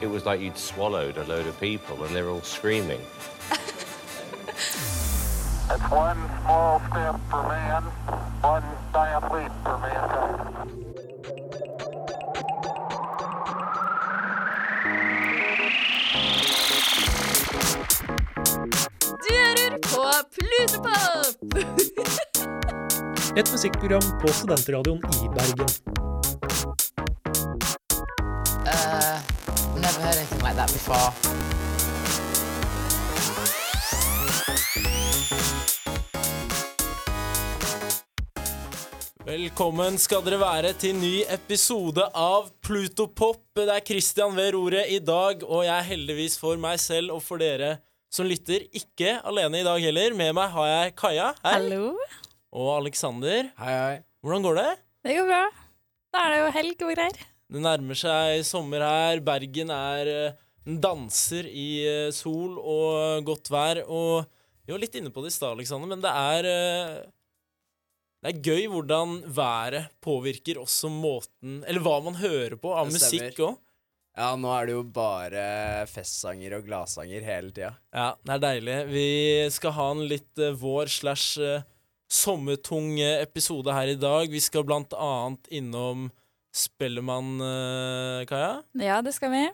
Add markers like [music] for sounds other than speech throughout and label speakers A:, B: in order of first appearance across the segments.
A: it was like you'd swallowed a load of people and they were all screaming.
B: It's one small step for man, one giant leap for mankind.
C: Du hører på Plutopop!
D: Et musikkprogram på studentradioen i Bergen.
E: Uh, never heard anything like that before.
F: Velkommen skal dere være til ny episode av Plutopop. Det er Christian ved roret i dag, og jeg er heldigvis for meg selv og for dere som lytter, ikke alene i dag heller. Med meg har jeg Kaja hei,
C: Hallo.
F: og Aleksander. Hei, hei. Hvordan går det?
C: Det går bra. Da er det jo helg og greier.
F: Det nærmer seg sommer her. Bergen er eh, den danser i eh, sol og godt vær. Og vi var litt inne på det i stad, Aleksander, men det er eh, det er gøy hvordan været påvirker også måten Eller hva man hører på av
G: Det stemmer.
F: musikk òg.
G: Ja, nå er det jo bare festsanger og gladsanger hele tida.
F: Ja, det er deilig. Vi skal ha en litt eh, vår slash eh, sommertung eh, episode her i dag. Vi skal blant annet innom Spellemann, eh, Kaja.
C: Ja, det skal vi.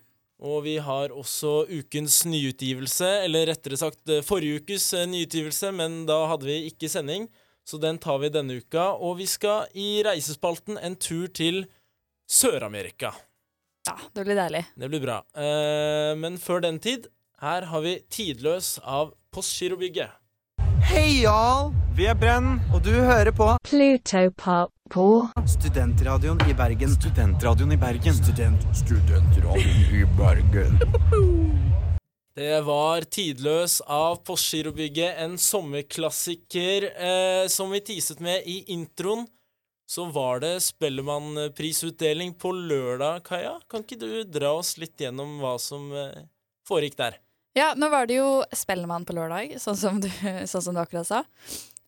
F: Og vi har også ukens nyutgivelse, eller rettere sagt eh, forrige ukes eh, nyutgivelse, men da hadde vi ikke sending, så den tar vi denne uka. Og vi skal i reisespalten en tur til Sør-Amerika.
C: Ja, det blir deilig.
F: Det blir bra. Eh, men før den tid, her har vi Tidløs av Postgirobygget.
H: Hei, Jarl! Vi er Brenn, og du hører på
I: Plutopop på
H: Studentradioen i Bergen. Studentradioen i Bergen. Student, studentradioen i Bergen.
F: [laughs] Det var Tidløs av Postgirobygget, en sommerklassiker eh, som vi teaset med i introen. Så var det Spellemannprisutdeling på lørdag, Kaja. Kan ikke du dra oss litt gjennom hva som eh, foregikk der?
C: Ja, nå var det jo Spellemann på lørdag, sånn som du, sånn som du akkurat sa.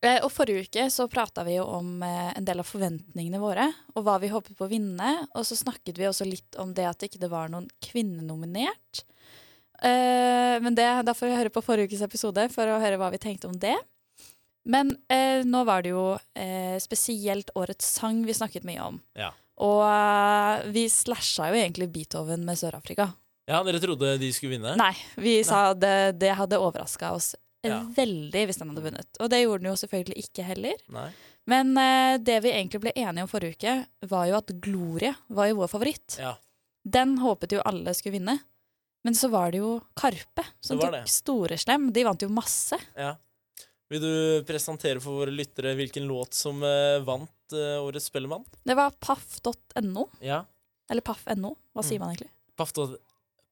C: Eh, Og forrige uke så prata vi jo om eh, en del av forventningene våre, og hva vi håpet på å vinne. Og så snakket vi også litt om det at det ikke var noen kvinnenominert. Eh, men det, da får vi høre på forrige ukes episode for å høre hva vi tenkte om det. Men eh, nå var det jo eh, spesielt årets sang vi snakket mye om.
F: Ja.
C: Og eh, vi slasha jo egentlig Beethoven med Sør-Afrika.
F: Ja, dere trodde de skulle vinne?
C: Nei, vi sa det, det hadde overraska oss
F: Ja.
C: veldig hvis den hadde vunnet. Og det gjorde den jo selvfølgelig ikke heller.
F: Nei.
C: Men eh, det vi egentlig ble enige om forrige uke, var jo at Glorie var jo vår favoritt.
F: Ja.
C: Den håpet jo alle skulle vinne. Men så var det jo Karpe som
F: Det var
C: tok
F: det.
C: storeslem. De vant jo masse.
F: ja. Vil du presentere for våre lyttere hvilken låt som eh, vant eh, Årets Spellemann?
C: Det var paff.no.
F: Ja.
C: Eller paff.no, hva sier
F: Mm.
C: man egentlig?
F: Paff, da-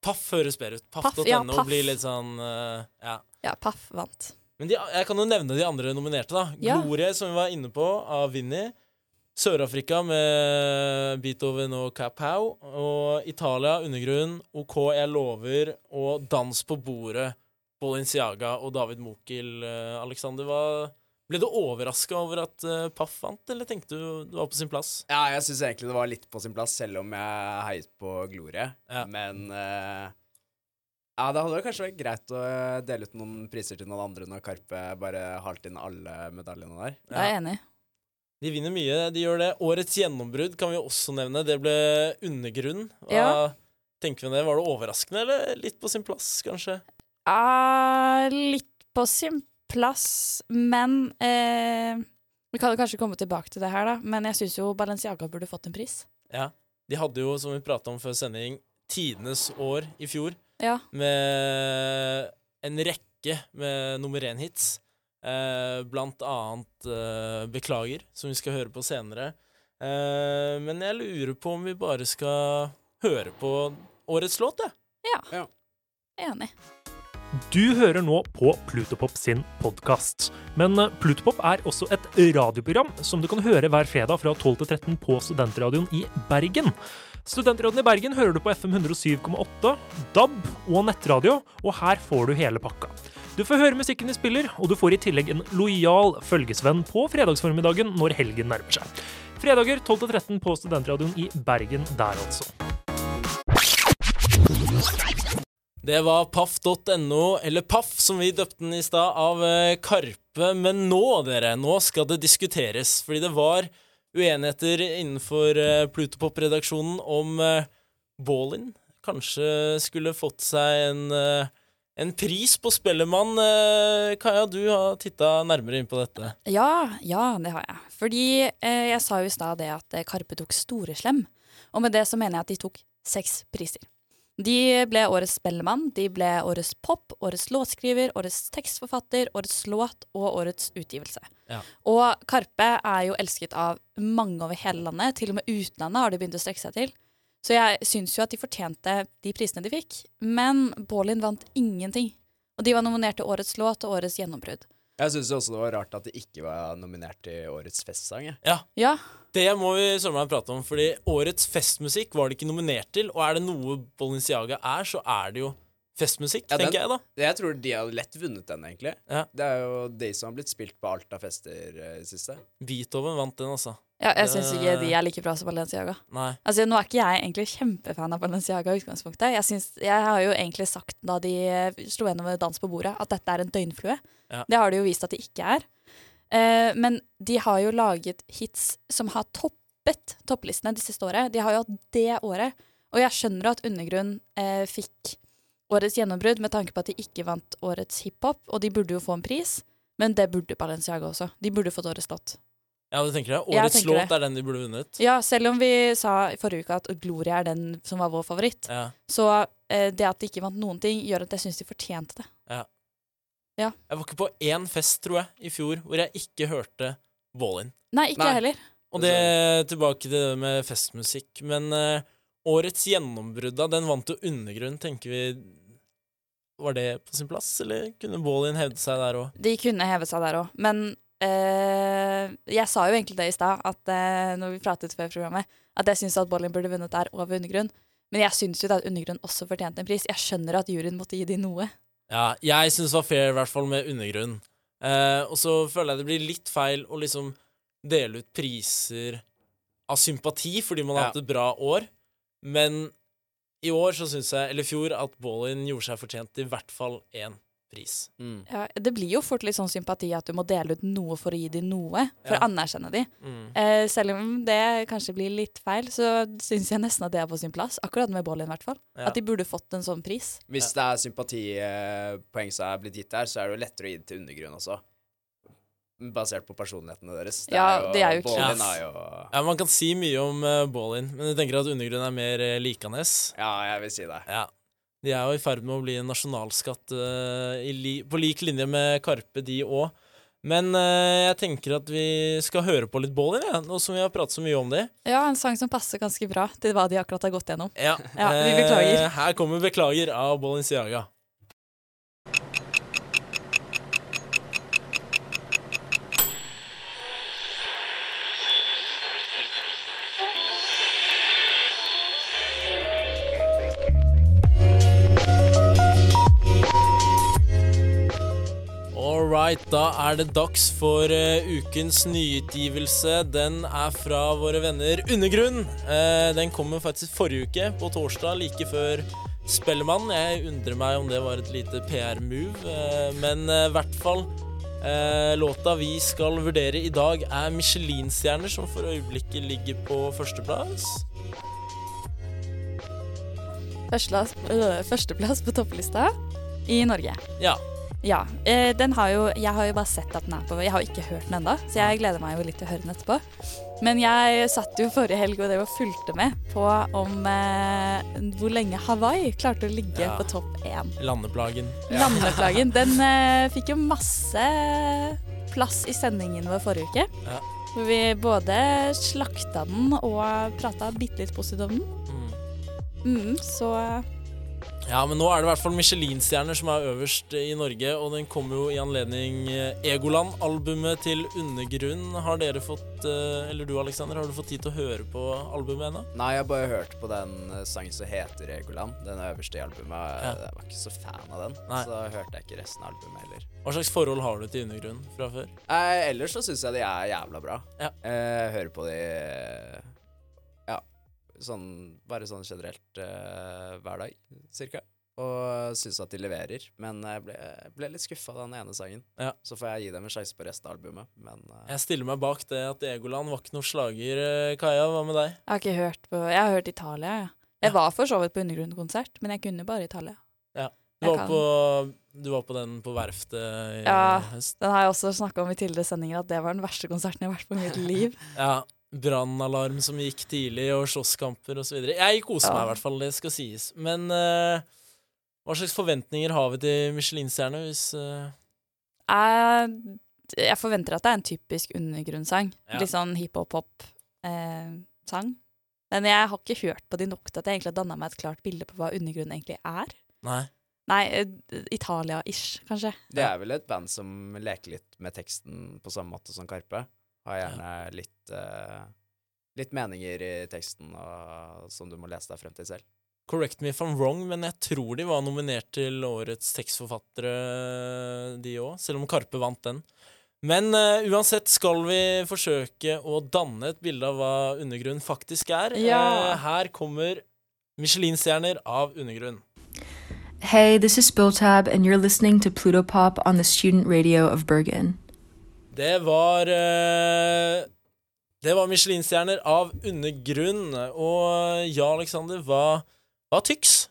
F: paff høres bedre ut. Paff.no
C: Paff, ja, paff.
F: blir litt sånn eh, Ja.
C: Ja, Paff vant.
F: Men de, jeg kan jo nevne de andre nominerte, da.
C: Ja.
F: Glorie, som vi var inne på, av Vinni. Sør-Afrika med Beethoven og Kapow. Og Italia, Undergrunn, OK, jeg lover, og Dans på bordet, Bolinciaga og David Mokel. Eh, Alexander, hva ble du overraska over at eh, Paff vant, eller tenkte du det var på sin plass?
G: Ja, jeg syns egentlig det var litt på sin plass, selv om jeg heiet på Glorie.
F: Ja.
G: Men eh, ja, det hadde jo kanskje vært greit å eh, dele ut noen priser til noen andre når Karpe bare halte inn alle medaljene der.
C: Da er jeg enig.
F: De vinner mye, de gjør det. Årets gjennombrudd kan vi også nevne. Det ble undergrunn. Hva
C: Ja.
F: tenker vi om det? Var det overraskende, eller litt på sin plass, kanskje?
C: Ah, litt på sin plass, men eh, Vi kan jo kanskje komme tilbake til det her, da, men jeg syns jo Balenciaga burde fått en pris.
F: Ja. De hadde jo, som vi prata om før sending, tidenes år i fjor
C: Ja,
F: med en rekke med nummer én-hits. Eh, blant annet eh, Beklager, som vi skal høre på senere. Eh, men jeg lurer på om vi bare skal høre på årets låt, jeg.
C: enig.
D: Du hører nå på Plutopop sin podkast. Men eh, Plutopop er også et radioprogram som du kan høre hver fredag fra 12 til 13 på Studentradioen i Bergen. Studentradioen i Bergen hører du på FM 107,8, DAB og nettradio, og her får du hele pakka. Du får høre musikken de spiller, og du får i tillegg en lojal følgesvenn på fredagsformiddagen når helgen nærmer seg. Fredager 12 til 13 på Studentradioen i Bergen der, altså.
F: Det var paff.no, eller Paff som vi døpte den i stad, av eh, Karpe. Men nå, dere, nå skal det diskuteres. Fordi det var uenigheter innenfor eh, Plutopop-redaksjonen om eh, Ballin kanskje skulle fått seg en, eh, en pris på Spellemann. Eh, Kaja, du har titta nærmere inn på dette.
C: Ja, ja, det har jeg. Fordi eh, jeg sa jo i stad det at eh, Karpe tok Storeslem. Og med det så mener jeg at de tok seks priser. De ble Årets Spellemann, de ble Årets pop, Årets låtskriver, Årets tekstforfatter, Årets låt og Årets utgivelse.
F: Ja.
C: Og Karpe er jo elsket av mange over hele landet, til og med utlandet har de begynt å strekke seg til. Så jeg syns jo at de fortjente de prisene de fikk, men Baalin vant ingenting. Og de var nominert til Årets låt og Årets gjennombrudd.
G: Jeg syns også det var rart at det ikke var nominert til årets festsang. Jeg.
F: Ja,
C: Ja,
F: Det må vi i sommer prate om, fordi årets festmusikk var det ikke nominert til. Og er det noe Balenciaga er, så er det jo festmusikk,
G: Ja, den-
F: tenker jeg da.
G: jeg tror de hadde lett vunnet den, egentlig.
F: Ja.
G: Det er jo de som har blitt spilt på alt av fester eh, i siste.
F: Beethoven vant den, altså.
C: Ja, jeg syns
F: Det-
C: ikke de er like bra som Balenciaga.
F: Nei.
C: Altså, nå er ikke jeg egentlig kjempefan av Balenciaga i utgangspunktet. Jeg, synes, jeg har jo egentlig sagt da de eh, slo gjennom med Dans på bordet, at dette er en døgnflue.
F: Ja.
C: Det har de jo vist at de ikke er. Eh, men de har jo laget hits som har toppet topplistene det siste året. De har jo hatt det året. Og jeg skjønner at Undergrunn eh, fikk årets gjennombrudd med tanke på at de ikke vant årets hiphop, og de burde jo få en pris. Men det burde Balenciaga også. De burde fått årets låt.
F: Ja, du tenker det?
C: Jeg
F: Årets
C: tenker
F: låt
C: det.
F: er den de burde vunnet.
C: Ja, selv om vi sa i forrige uke at Gloria er den som var vår favoritt,
F: Ja.
C: så eh, det at de ikke vant noen ting, gjør at jeg syns de fortjente det.
F: Jeg var ikke på én fest, tror jeg, i fjor hvor jeg ikke hørte Ballin.
C: Nei, ikke
G: Nei.
C: jeg heller.
F: Og det tilbake til det med festmusikk. Men eh, årets gjennombrudd, da, den vant jo Undergrunn, tenker vi. Var det på sin plass, eller kunne Ballin hevde seg der òg?
C: De kunne heve seg der òg, men eh, jeg sa jo egentlig det i stad, at eh, når vi pratet før programmet, at jeg syns at Bollin burde vunnet der over Undergrunn. Men jeg syns jo da at Undergrunn også fortjente en pris. Jeg skjønner at juryen måtte gi de noe.
F: Ja, jeg syns det var fair, i hvert fall med undergrunn. Eh, og så føler jeg det blir litt feil å liksom dele ut priser av sympati fordi man har
G: Ja.
F: hatt et bra år, men i år så syns jeg, eller i fjor, at Ballin gjorde seg fortjent til i hvert fall én pris.
G: Mm.
C: Ja, det blir jo fort litt sånn sympati at du må dele ut noe for å gi de noe, for
F: Ja.
C: å anerkjenne de. Eh, selv om det kanskje blir litt feil, så syns jeg nesten at det er på sin plass. Akkurat med Bollin, i hvert fall.
F: Ja.
C: At de burde fått en sånn pris.
G: Hvis det er sympatipoeng som er blitt gitt der, så er det jo lettere å gi det til undergrunn også. Basert på personlighetene deres.
C: Ja, det er jo
G: Ballin
F: klass.
G: er jo
F: Ja, Man kan si mye om uh, Ballin, men jeg tenker at undergrunn er mer uh, likanes.
G: Ja, jeg vil si det.
F: Ja. De er jo i ferd med å bli en nasjonalskatt eh, i li på lik linje med Karpe, de òg. Men eh, jeg tenker at vi skal høre på litt Ballin, ja, nå som vi har pratet så mye om det.
C: Ja, en sang som passer ganske bra til hva de akkurat har gått gjennom.
F: Ja,
C: Ja, vi beklager.
F: Eh, her kommer 'Beklager' av Balenciaga. All right, da er det dags for eh, ukens nyutgivelse. Den er fra våre venner Undergrunn. Eh, den kommer faktisk forrige uke, på torsdag, like før Spellemann. Jeg undrer meg om det var et lite PR-move, eh, men eh, i hvert fall eh, Låta vi skal vurdere i dag, er Michelin-stjerner, som for øyeblikket ligger på førsteplass.
C: Førsteplass, øh, førsteplass på topplista i Norge.
F: Ja.
C: Ja. Eh, den har jo Jeg har jo bare sett at den er på Jeg har jo ikke hørt den ennå, så jeg gleder meg jo litt til å høre den etterpå. Men jeg satt jo forrige helg og det var fulgte med på om eh, hvor lenge Hawaii klarte å ligge
F: Ja.
C: på topp én.
F: Landeplagen.
C: Landeplagen. Den eh, fikk jo masse plass i sendingen vår forrige uke.
F: Ja.
C: Hvor vi både slakta den og prata bitte litt positivt om den.
F: Mm.
C: Mm, så
F: Ja, men nå er det i hvert fall Michelin-stjerner som er øverst i Norge, og den kommer jo i anledning eh, Egoland-albumet til Undergrunn. Har dere fått, eh, eller du Alexander, har du fått tid til å høre på albumet ennå?
G: Nei, jeg bare hørte på den eh, sangen som heter Egoland. Den øverste i albumet.
F: Ja.
G: Jeg var ikke så fan av den,
F: Nei.
G: så hørte jeg ikke resten av albumet heller.
F: Hva slags forhold har du til Undergrunn fra før?
G: Eh, ellers så syns jeg de er jævla bra.
F: Ja.
G: Eh, hører på de eh, Ja, sånn bare sånn generelt eh, hver dag. cirka. Og syns at de leverer. Men jeg ble, ble litt skuffa av den ene sangen.
F: Ja.
G: Så får jeg gi dem en sjanse på resten av albumet, men eh,
F: Jeg stiller meg bak det at Egoland var ikke noe slager, eh, Kaja. Hva med deg?
C: Jeg har ikke hørt på Jeg har hørt Italia, ja. Jeg var for så vidt på undergrunnskonsert, men jeg kunne bare Italia.
F: Du
C: Jeg
F: var,
C: kan.
F: på, du var på den på verftet i
C: Ja.
F: høst.
C: Den har jeg også snakka om i tidligere sendinger, at det var den verste konserten jeg har vært på i mitt
F: [laughs]
C: liv.
F: Ja. Brannalarm som gikk tidlig, og slåsskamper osv. Jeg koser meg i
C: Ja.
F: hvert fall, det skal sies. Men eh, hva slags forventninger har vi til Michelin-stjerne hvis eh,
C: Jeg, jeg forventer at det er en typisk undergrunnssang.
F: Ja.
C: Litt sånn hiphop-pop-sang. men jeg har ikke hørt på de nok til at jeg egentlig har danna meg et klart bilde på hva undergrunn egentlig er.
F: Nei.
C: Nei, eh, Italia-ish, kanskje.
G: det er vel et band som leker litt med teksten på samme måte som Karpe. Har gjerne litt eh, Litt meninger i teksten og, som du må lese deg frem til selv.
F: Correct me if I'm wrong, men jeg tror de var nominert til årets tekstforfattere, de òg. Selv om Karpe vant den. Men eh, uansett skal vi forsøke å danne et bilde av hva undergrunn faktisk er.
C: Ja.
F: Eh, her kommer Michelin-stjerner av undergrunn.
I: Hey, this is Spilltab, and you're listening to Pluto Pop on the student radio of Bergen.
F: Det var eh, Det var Michelin-stjerner av undergrunn. Og ja, Alexander, hva, hva tyks?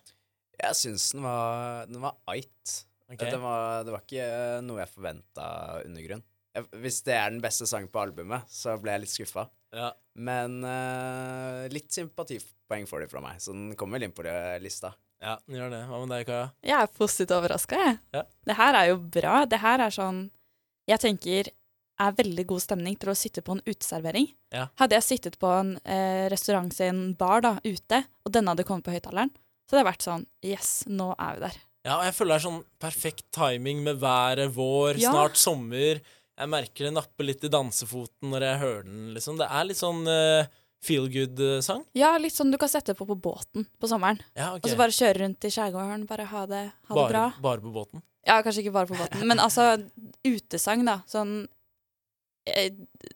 G: Jeg syns den var Den var eit.
F: Ok.
G: Det, var, det var ikke eh, noe jeg forventa undergrunn. Jeg, hvis det er den beste sangen på albumet, så ble jeg litt skuffa.
F: Ja.
G: Men eh, litt sympatipoeng får de fra meg, så den kommer vel inn på det lista.
F: ja, den gjør det. Hva med deg, Kaja?
C: Jeg er positivt overraska, jeg.
F: Ja.
C: Det her er jo bra. Det her er sånn jeg tenker er veldig god stemning til å sitte på en uteservering.
F: Ja.
C: Hadde jeg sittet på en eh, restaurant sin bar da, ute, og denne hadde kommet på høyttaleren, så hadde jeg vært sånn Yes, nå er vi der.
F: Ja, og jeg føler det er sånn perfekt timing med været, vår,
C: Ja.
F: snart sommer. Jeg merker det napper litt i dansefoten når jeg hører den, liksom. Det er litt sånn eh, feel good-sang.
C: Ja, litt sånn du kan sette på på båten på sommeren,
F: Ja, ok.
C: og så bare kjøre rundt i skjærgården, bare ha det, ha det
F: bare,
C: bra.
F: bare på båten.
C: Ja, kanskje ikke bare på båten, men altså utesang, da. Sånn jeg,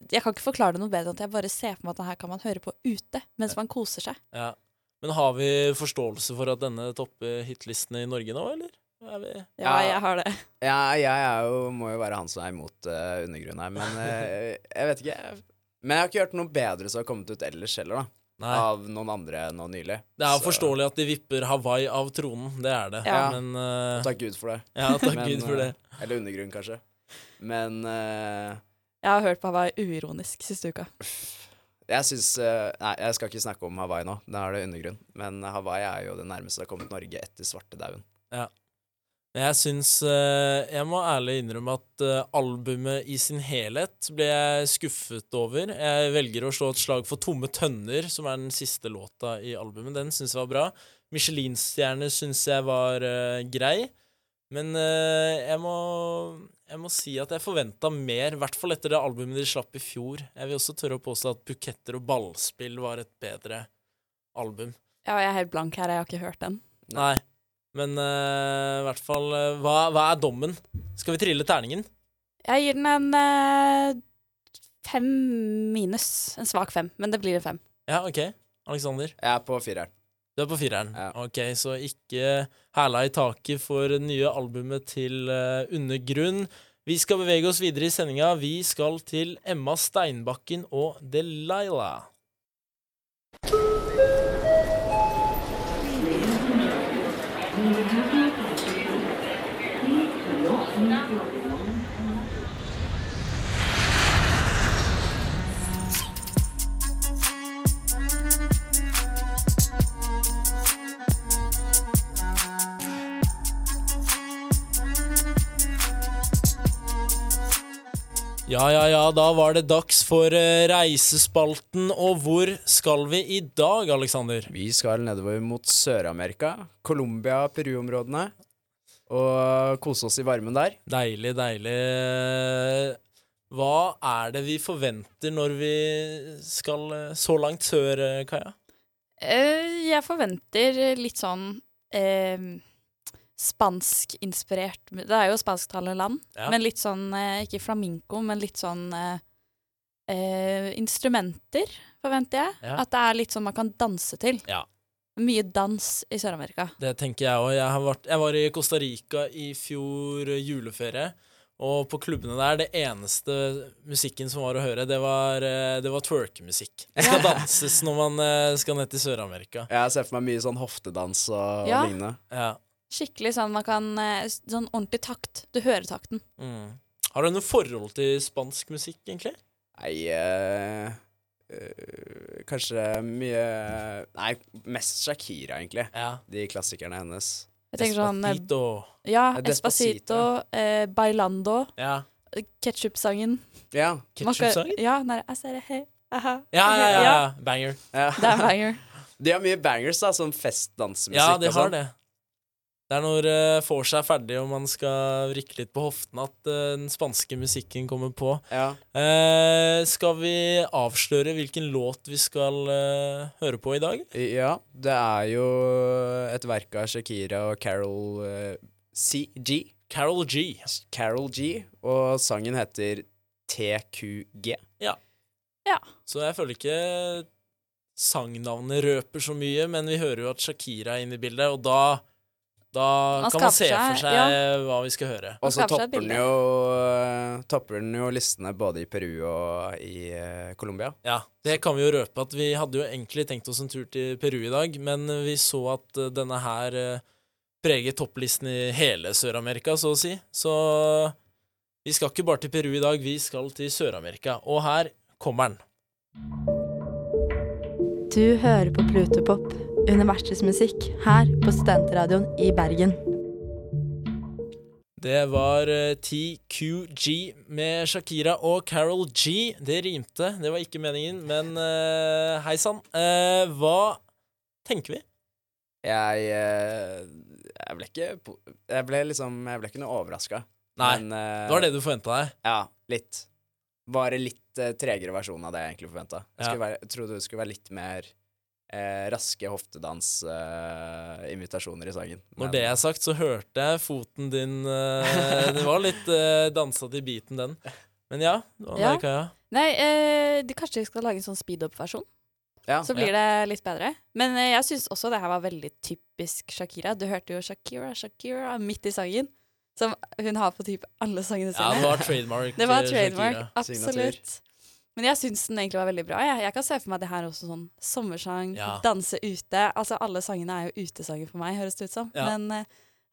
C: jeg kan ikke forklare det noe bedre enn at jeg bare ser for meg at den her kan man høre på ute mens man koser seg.
F: Ja. Men har vi forståelse for at denne topper hitlistene i Norge nå, eller? Er vi
C: Ja,
G: Ja.
C: jeg har det.
G: Ja, jeg er jo, må jo være han som er imot eh, undergrunn her, men eh, jeg vet ikke. jeg- Men jeg har ikke hørt noe bedre som har kommet ut ellers heller, da.
F: Nei.
G: Av noen andre nå nylig.
F: Det er jo
G: Så-
F: forståelig at de vipper Hawaii av tronen, det er det.
C: Ja.
F: Men eh,
G: Takk Gud for det.
F: Ja, takk
G: Men,
F: Gud for det.
G: eh, Eller undergrunn, kanskje. Men eh,
C: Jeg har hørt på Hawaii uironisk siste uka.
G: Jeg syns eh, Nei, jeg skal ikke snakke om Hawaii nå. Da er det undergrunn. Men eh, Hawaii er jo det nærmeste det har kommet Norge etter svartedauden.
F: Men jeg syns eh, Jeg må ærlig innrømme at eh, albumet i sin helhet ble jeg skuffet over. Jeg velger å slå et slag for Tomme tønner, som er den siste låta i albumet. Den syns jeg var bra. Michelin-stjerne syns jeg var eh, grei. Men eh, jeg, må, jeg må si at jeg forventa mer, i hvert fall etter det albumet de slapp i fjor. Jeg vil også tørre å påstå at Buketter og ballspill var et bedre album.
C: Ja, jeg er helt blank her, jeg har ikke hørt den.
F: Nei. Men eh, i hvert fall eh, hva, hva er dommen? Skal vi trille terningen?
C: Jeg gir den en eh, fem minus. En svak fem, men det blir en fem.
F: Ja, OK. Aleksander,
G: Jeg er på fireren.
F: du er på fireren.
G: Ja.
F: OK, så ikke hæla i taket for det nye albumet til eh, Undergrunn. Vi skal bevege oss videre i sendinga. Vi skal til Emma Steinbakken og Delilah. Ja, ja, ja, da var det dags for eh, Reisespalten. Og hvor skal vi i dag, Aleksander?
G: Vi skal nedover mot Sør-Amerika, Colombia, Peru-områdene, og kose oss i varmen der.
F: Deilig, deilig. Hva er det vi forventer når vi skal eh, så langt sør, eh, Kaja?
C: Eh, jeg forventer litt sånn eh, spanskinspirert Det er jo spansktalende land,
F: Ja.
C: men litt sånn eh, Ikke flamenco, men litt sånn eh, eh, Instrumenter, forventer jeg.
F: Ja.
C: At det er litt sånn man kan danse til.
F: Ja.
C: Mye dans i Sør-Amerika.
F: Det tenker jeg òg. Jeg, har vært- jeg var i Costa Rica i fjor eh, juleferie. Og på klubbene der, det eneste musikken som var å høre, det var, eh, det var twerkemusikk. Det [laughs] skal danses når man eh, skal ned til Sør-Amerika.
G: Jeg ser for meg mye sånn hoftedans og
C: Ja.
G: lignende.
F: Ja.
C: Skikkelig sånn man kan eh, s- Sånn ordentlig takt. Du hører takten.
F: Mm. Har du noe forhold til spansk musikk, egentlig?
G: Nei eh, eh, Kanskje mye Nei, mest Shakira, egentlig.
F: Ja.
G: De klassikerne hennes.
C: Jeg tenker sånn eh,
F: Despacito.
C: Ja,
G: Eh,
C: Espacito,
G: Despacito.
C: eh, Bailando,
F: Ja.
C: ketsjup-sangen.
G: Ja.
F: Ketchup-sangen?
C: Ja, den der, «Jeg ser det, hei, aha,
F: Ja, ja, ja,
C: ja.
F: ja. Banger.
G: ja.
C: Det er
G: [laughs]
C: en banger.
G: De har mye bangers, da, sånn festdansemusikk.
F: Ja, de
G: og
F: har
G: sånn.
F: det. Det er når uh, vors er ferdig og man skal vrikke litt på hoftene, at eh, den spanske musikken kommer på.
G: Ja.
F: Eh, skal vi avsløre hvilken låt vi skal eh, høre på i dag?
G: ja, det er jo et verk av Shakira og Carol eh, CG.
F: Carol G.
G: Carol G, og sangen heter TQG.
F: Så jeg føler ikke sangnavnet røper så mye, men vi hører jo at Shakira er inne i bildet, og da, da
C: Man
F: kan
C: skaper
F: man se for
C: seg,
F: seg
C: ja.
F: hva vi skal høre.
G: Og så
C: skaper seg et
G: topper den,
C: bilde.
G: jo, eh, topper den jo listene både i Peru og i eh, Colombia.
F: Ja, det kan vi jo røpe at vi hadde jo egentlig tenkt oss en tur til Peru i dag, men vi så at eh, denne her eh, preger topplisten i hele Sør-Amerika, så å si. Så vi skal ikke bare til Peru i dag, vi skal til Sør-Amerika. Og her kommer den.
I: Du hører på Plutopop, universets musikk, her på Studentradioen i Bergen.
F: Det var eh, TQG med Shakira og Carol G. Det rimte, det var ikke meningen, men uh, hei sann. Eh, hva tenker vi?
G: Jeg, eh, jeg ble ikke po- Jeg ble liksom Jeg ble ikke noe overraska.
F: Nei,
G: Men, eh,
F: Det var det du forventa deg.
G: Ja, litt. Bare litt eh, tregere versjon av det jeg egentlig forventa. Jeg,
F: Ja.
G: skulle være- jeg trodde det skulle være litt mer eh, raske hoftedansinvitasjoner i sangen.
F: Når det er sagt, så hørte jeg foten din eh, Det var litt uh, dansa til beaten, den. Men ja. Det var
C: Ja.
F: deg, Kaja.
C: Nei, eh, de kanskje de skal lage en sånn speed-up-versjon,
G: ja.
C: så blir det litt bedre. Men eh, jeg syns også det her var veldig typisk Shakira. Du hørte jo Shakira, Shakira midt i sangen, som hun har på typ alle sangene
F: ja, det
C: sine.
F: var trademark.
C: [laughs] det var
F: eh,
C: trademark,
F: Shakira.
G: Signatur.
C: absolutt. Men jeg syns den egentlig var veldig bra. Jeg, jeg kan se for meg det her også sånn sommersang,
F: Ja.
C: danse ute. Altså alle sangene er jo utesanger for meg, høres det ut som.
F: Ja.
C: Men eh,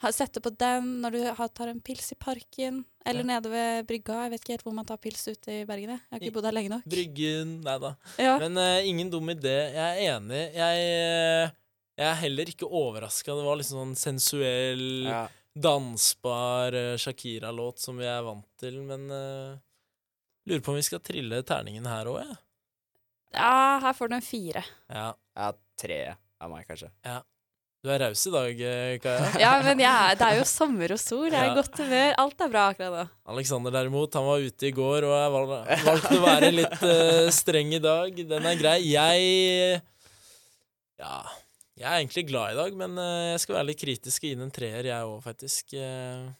C: ha- sette på den når du har, tar en pils i parken, eller nede ved brygga. Jeg vet ikke helt hvor man tar pils ute i Bergen. jeg. Jeg har
F: I-
C: ikke bodd her lenge nok.
F: Bryggen Nei da.
C: Ja.
F: Men eh, ingen dum idé. Jeg er enig. Jeg, eh, jeg er heller ikke overraska. Det var liksom sånn sensuell,
G: Ja.
F: dansbar eh, Shakira-låt som vi er vant til, men eh, Lurer på om vi skal trille terningen her òg, jeg.
C: Ja, her får du en fire.
F: Ja.
G: ja, tre av meg, kanskje.
F: Du er raus i dag, eh, Kaja.
C: Ja, men jeg, det er jo sommer og sol, det er
F: Ja.
C: godt humør, alt er bra akkurat nå.
F: Alexander derimot, han var ute i går og jeg val- valgte å være litt eh, streng i dag. Den er grei. Jeg Ja, jeg er egentlig glad i dag, men eh, jeg skal være litt kritisk og gi den en treer, jeg òg, faktisk. Eh,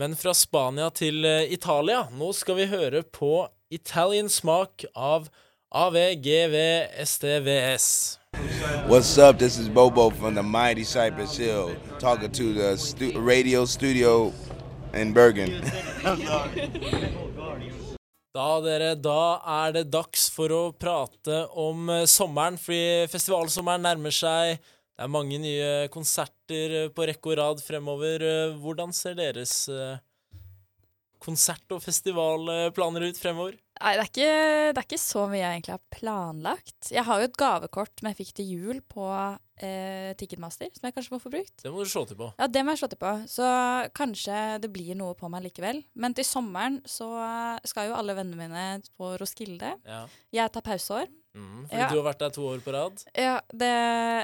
F: men fra Spania til eh, Italia. Nå skal vi høre på Italian Smak av AVGVSTVS.
J: What's up? This is Bobo from the mighty Cypress Hill, talking to the stu- radio studio in Bergen.
F: Da, dere, da er det dags for å prate om eh, sommeren, fordi festivalsommeren nærmer seg. Det er mange nye konserter eh, på rekke og rad fremover. Eh, Hvordan ser deres eh, konsert- og festivalplaner ut fremover?
C: Nei, det er, ikke, det er ikke så mye jeg egentlig har planlagt. Jeg har jo et gavekort som jeg fikk til jul på eh, Ticketmaster, som jeg kanskje må få brukt.
F: Det må du se til på.
C: Ja, det må jeg slå til på. Så kanskje det blir noe på meg likevel. Men til sommeren så skal jo alle vennene mine på Roskilde.
F: Ja.
C: Jeg tar pausehår.
F: Mm, fordi
C: Ja.
F: du har vært der to år på rad.
C: Ja, det,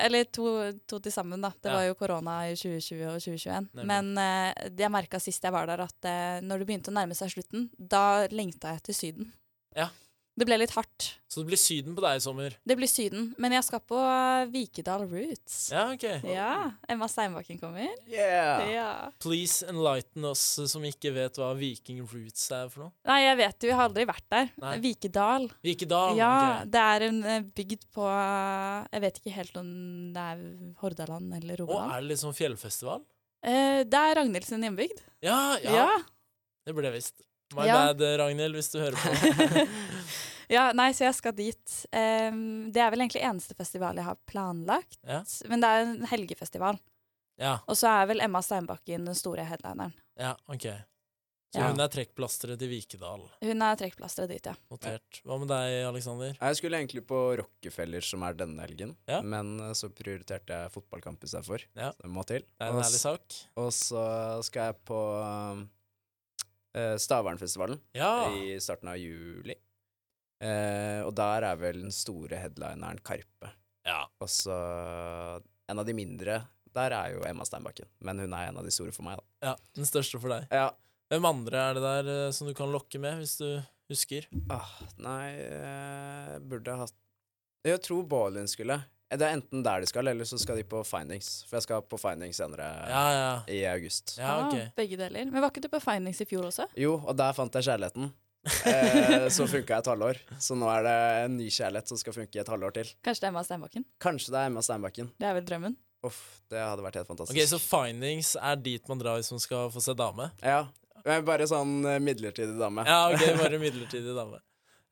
C: eller to, to til sammen, da. Det
F: Ja.
C: var jo korona i 2020 og 2021.
F: Nemlig.
C: Men eh, jeg merka sist jeg var der, at eh, når det begynte å nærme seg slutten, da lengta jeg til Syden.
F: Ja.
C: Det ble litt hardt.
F: Så det blir Syden på deg i sommer.
C: Det blir Syden. Men jeg skal på eh, Vikedal Roots. Ja.
F: Ja, ok.
C: Emma Steinbakken kommer.
G: Yeah!
C: Ja.
F: Please enlighten oss eh, som ikke vet hva Viking Roots er for noe.
C: Nei, jeg vet jo, jeg har aldri vært der.
F: Nei.
C: Vikedal.
F: Vikedal.
C: Ja,
F: ok.
C: det er en eh, bygd på eh, Jeg vet ikke helt om det er Hordaland eller
F: Og
C: Rogaland.
F: er det litt sånn fjellfestival?
C: Eh, det er Ragnhild sin hjembygd.
F: Ja, ja,
C: Ja.
F: Det ble visst. My
C: Ja.
F: bad, eh, Ragnhild, hvis du hører
C: [laughs]
F: [laughs] på.
C: ja, nei, så jeg skal dit. Em, det er vel egentlig eneste festival jeg har planlagt.
F: Ja.
C: Men det er en helgefestival.
F: ja,
C: Og så er vel Emma Steinbakken den store headlineren.
F: ja, ok. Så
C: Ja.
F: hun er trekkplasteret til Vikedal.
C: Hun er trekkplasteret dit, ja.
F: Notert. Hva med deg, Aleksander?
G: Jeg skulle egentlig på Rockefeller, som er denne helgen,
F: Ja.
G: men eh, så prioriterte jeg fotballkamp istedenfor.
F: Ja.
G: Så det må til.
F: Det er en
G: Og
F: ærlig
G: s-
F: sak.
G: Og så skal jeg på eh, Stavernfestivalen
F: Ja.
G: i starten av juli. Eh, og der er vel den store headlineren Karpe.
F: ja.
G: Og så en av de mindre der er jo Emma Steinbakken, men hun er en av de store for meg, da.
F: Ja, den største for deg.
G: Ja.
F: Hvem andre er det der eh, som du kan lokke med, hvis du husker?
G: Ah, nei, eh, burde hatt Jeg tror Ballin skulle. Eh, Det er enten der de skal, eller så skal de på Findings. For jeg skal på Findings senere
F: Ja, ja.
G: i august.
F: Ja,
C: Ah,
F: ok.
C: begge deler. Men var ikke du på Findings i fjor også?
G: Jo, og der fant
F: [laughs]
G: jeg kjærligheten.
C: Ah.
G: Eh, så funka jeg et halvår. Så nå er det en ny kjærlighet som skal funke i et halvår til.
C: Kanskje det er Emma Steinbakken?
G: Kanskje det er Emma Steinbakken.
C: Det er vel drømmen?
G: Uff, det hadde vært helt fantastisk.
F: Ok, Så findings er dit man drar hvis man skal få se dame?
G: Ja. Jeg er Bare sånn eh, midlertidig dame.
F: Ja,
G: [laughs]
F: ok, bare midlertidig dame.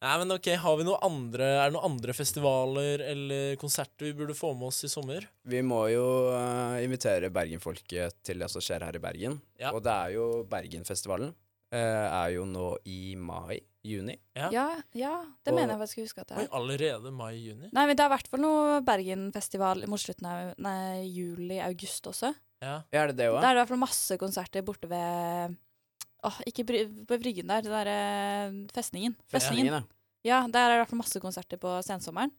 F: Nei, men ok, har vi noe andre Er det noen andre festivaler eller konserter vi burde få med oss i sommer?
G: Vi må jo eh, invitere bergenfolket til det som skjer her i Bergen.
F: Ja.
G: Og det er jo Bergenfestivalen. eh, er jo nå i mai. Juni.
F: Ja.
C: Ja, ja det
G: Og-
C: mener jeg faktisk jeg husker at det
F: Oi,
C: er.
F: allerede mai-juni?
C: Nei, men det er i hvert fall noe Bergenfestival mot slutten av nei, juli-august også.
F: Ja.
G: Ja, er det det
C: Da
G: òg?
C: er det i hvert fall masse konserter borte ved Åh, ikke bry, ved Bryggen der, det derre festningen. Festningen.
G: ja.
C: Ja, der er det i hvert fall masse konserter på sensommeren.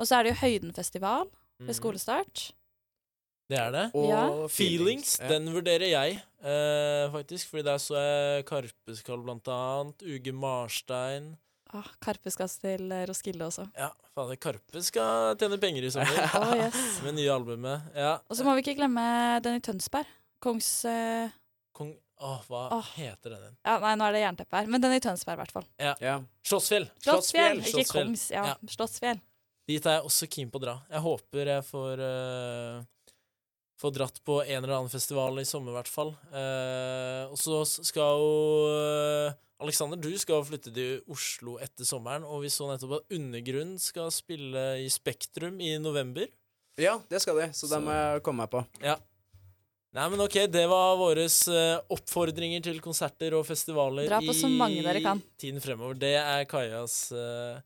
C: Og så er det jo Høydenfestival ved skolestart.
F: Mm. Det er det.
G: Og
C: Ja.
F: Feelings,
G: Ja.
F: den vurderer jeg, eh, faktisk. Fordi der så jeg Karpeskall, blant annet. Uge Marstein.
C: Åh, Karpe skal til eh, Roskilde også.
F: [laughs] Ja, fader, Karpe skal tjene penger [laughs] i sommer.
C: Åh, yes.
F: Med nye albumet. Ja.
C: Og så må vi ikke glemme den i Tønsberg. Kongs eh,
F: Kong... Åh, hva
C: Åh.
F: heter den igjen?
C: Ja, nei, nå er det jernteppe her, men den i Tønsberg i hvert fall.
G: ja.
F: Slottsfjell!
C: Slottsfjell! Ikke
F: Slottsfjell.
C: Kongs, ja.
F: Ja.
C: Slottsfjell.
F: Dit er jeg også keen på å dra. Jeg håper jeg får eh, Får dratt på en eller annen festival i sommer, i hvert fall. Eh, og så s- skal jo eh, Alexander, du skal jo flytte til Oslo etter sommeren, og vi så nettopp at Undergrunn skal spille i Spektrum i november.
G: ja, det skal de, så, det må jeg komme meg på.
F: Nei, men ok, det var våre oppfordringer til konserter og festivaler
C: Dra på så mange dere kan.
F: i tiden fremover. Det er Kajas, eh,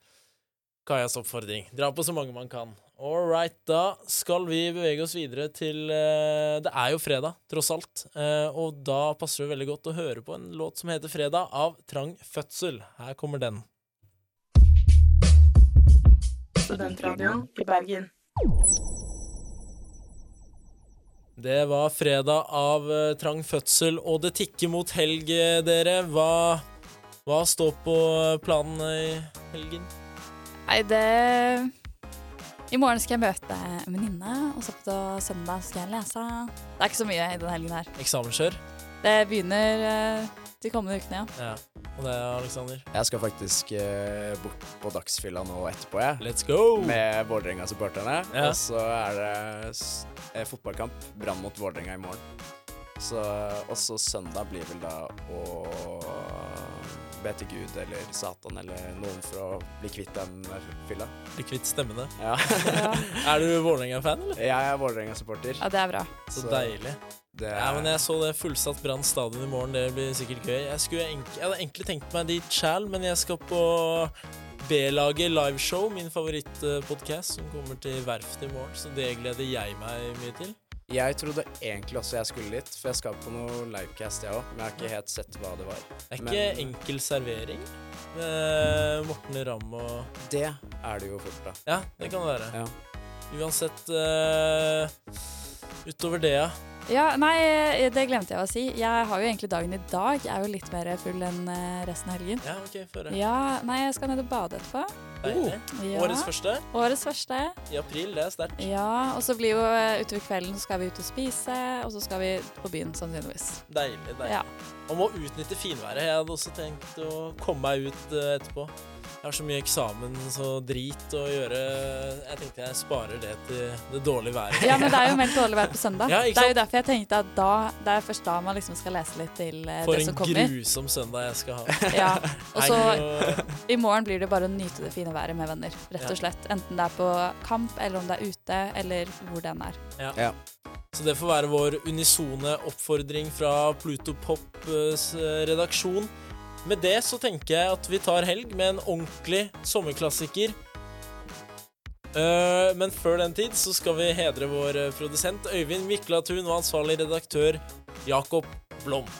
F: Kajas oppfordring. Dra på så mange man kan. All right, da skal vi bevege oss videre til eh, Det er jo fredag, tross alt. eh, og da passer det veldig godt å høre på en låt som heter 'Fredag' av Trang Fødsel. Her kommer den.
K: Studentradioen i Bergen.
F: Det var fredag av eh, trang fødsel, og det tikker mot helg, eh, dere. Hva, hva står på eh, planen i helgen?
C: Nei, det I morgen skal jeg møte en venninne, og så på søndag skal jeg lese. Det er ikke så mye i den helgen her.
F: Eksamenskjør.
C: Det begynner eh, de kommende ukene, ja.
F: Ja. Og det er Aleksander.
G: Jeg skal faktisk eh, bort på Dagsfylla nå etterpå, jeg.
F: Let's go!
G: Med Vålerenga-supporterne.
F: Ja.
G: Og så er det s- eh, fotballkamp. Brann mot Vålerenga i morgen. Så også søndag blir vel da å be til Gud eller Satan eller noen for å bli kvitt den eh, fylla.
F: Bli kvitt stemmene.
G: Ja. [laughs]
F: Er du Vålerenga-fan, eller?
G: Jeg er Vålerenga-supporter.
C: ja. Det er bra.
F: Så
G: Så
F: deilig.
G: Det
F: Ja, men jeg så det fullsatt Brann stadion i morgen. Det blir sikkert gøy. Jeg, skulle enk- jeg hadde egentlig tenkt meg dit sjæl, men jeg skal på B-laget liveshow, min favorittpodkast, som kommer til Verftet i morgen. Så det gleder jeg meg mye til.
G: jeg trodde egentlig også jeg skulle dit, for jeg skal på noe livecast, jeg òg. Men jeg har ikke helt sett hva det var.
F: Det er
G: Men-
F: ikke enkel servering med Morten Ramm og
G: Det er det jo fort, da.
F: Ja, det kan det være.
G: Ja.
F: Uansett eh, Utover det, ja.
C: Ja, nei, eh, det glemte jeg å si. Jeg har jo egentlig dagen i dag. Jeg er jo litt mer full enn eh, resten av helgen.
F: Ja, ok, få høre.
C: Ja, nei, jeg skal ned og bade etterpå.
F: Deilig.
C: Ja.
F: Årets første
C: Årets første.
F: i april, det er sterkt.
C: Ja, og så blir jo eh, utover kvelden så skal vi ut og spise, og så skal vi på byen sannsynligvis.
F: Deilig. deilig.
C: Ja.
F: Man må utnytte finværet. Jeg hadde også tenkt å komme meg ut eh, etterpå. Jeg har så mye eksamen og drit å gjøre. Jeg tenkte jeg sparer det til det dårlige været.
C: Ja, men det er jo meldt dårlig vær på søndag.
F: [laughs] Ja,
C: det
F: ikke
C: er jo
F: sant?
C: derfor jeg tenkte at da, det er først da man liksom skal lese litt til eh,
F: For
C: det
F: en
C: som kommer.
F: grusom søndag jeg skal ha.
C: Ja, og så
F: Nei, nå-
C: i morgen blir det bare å nyte det fine været med venner, rett
F: Ja.
C: og slett. Enten det er på kamp, eller om det er ute, eller hvor den er.
F: Ja.
G: Ja.
F: Så det får være vår unisone oppfordring fra Pluto Pops eh, redaksjon. Med det så tenker jeg at vi tar helg med en ordentlig sommerklassiker. Eh, men før den tid så skal vi hedre vår eh, produsent Øyvind Miklatun og ansvarlig redaktør Jakob Blom.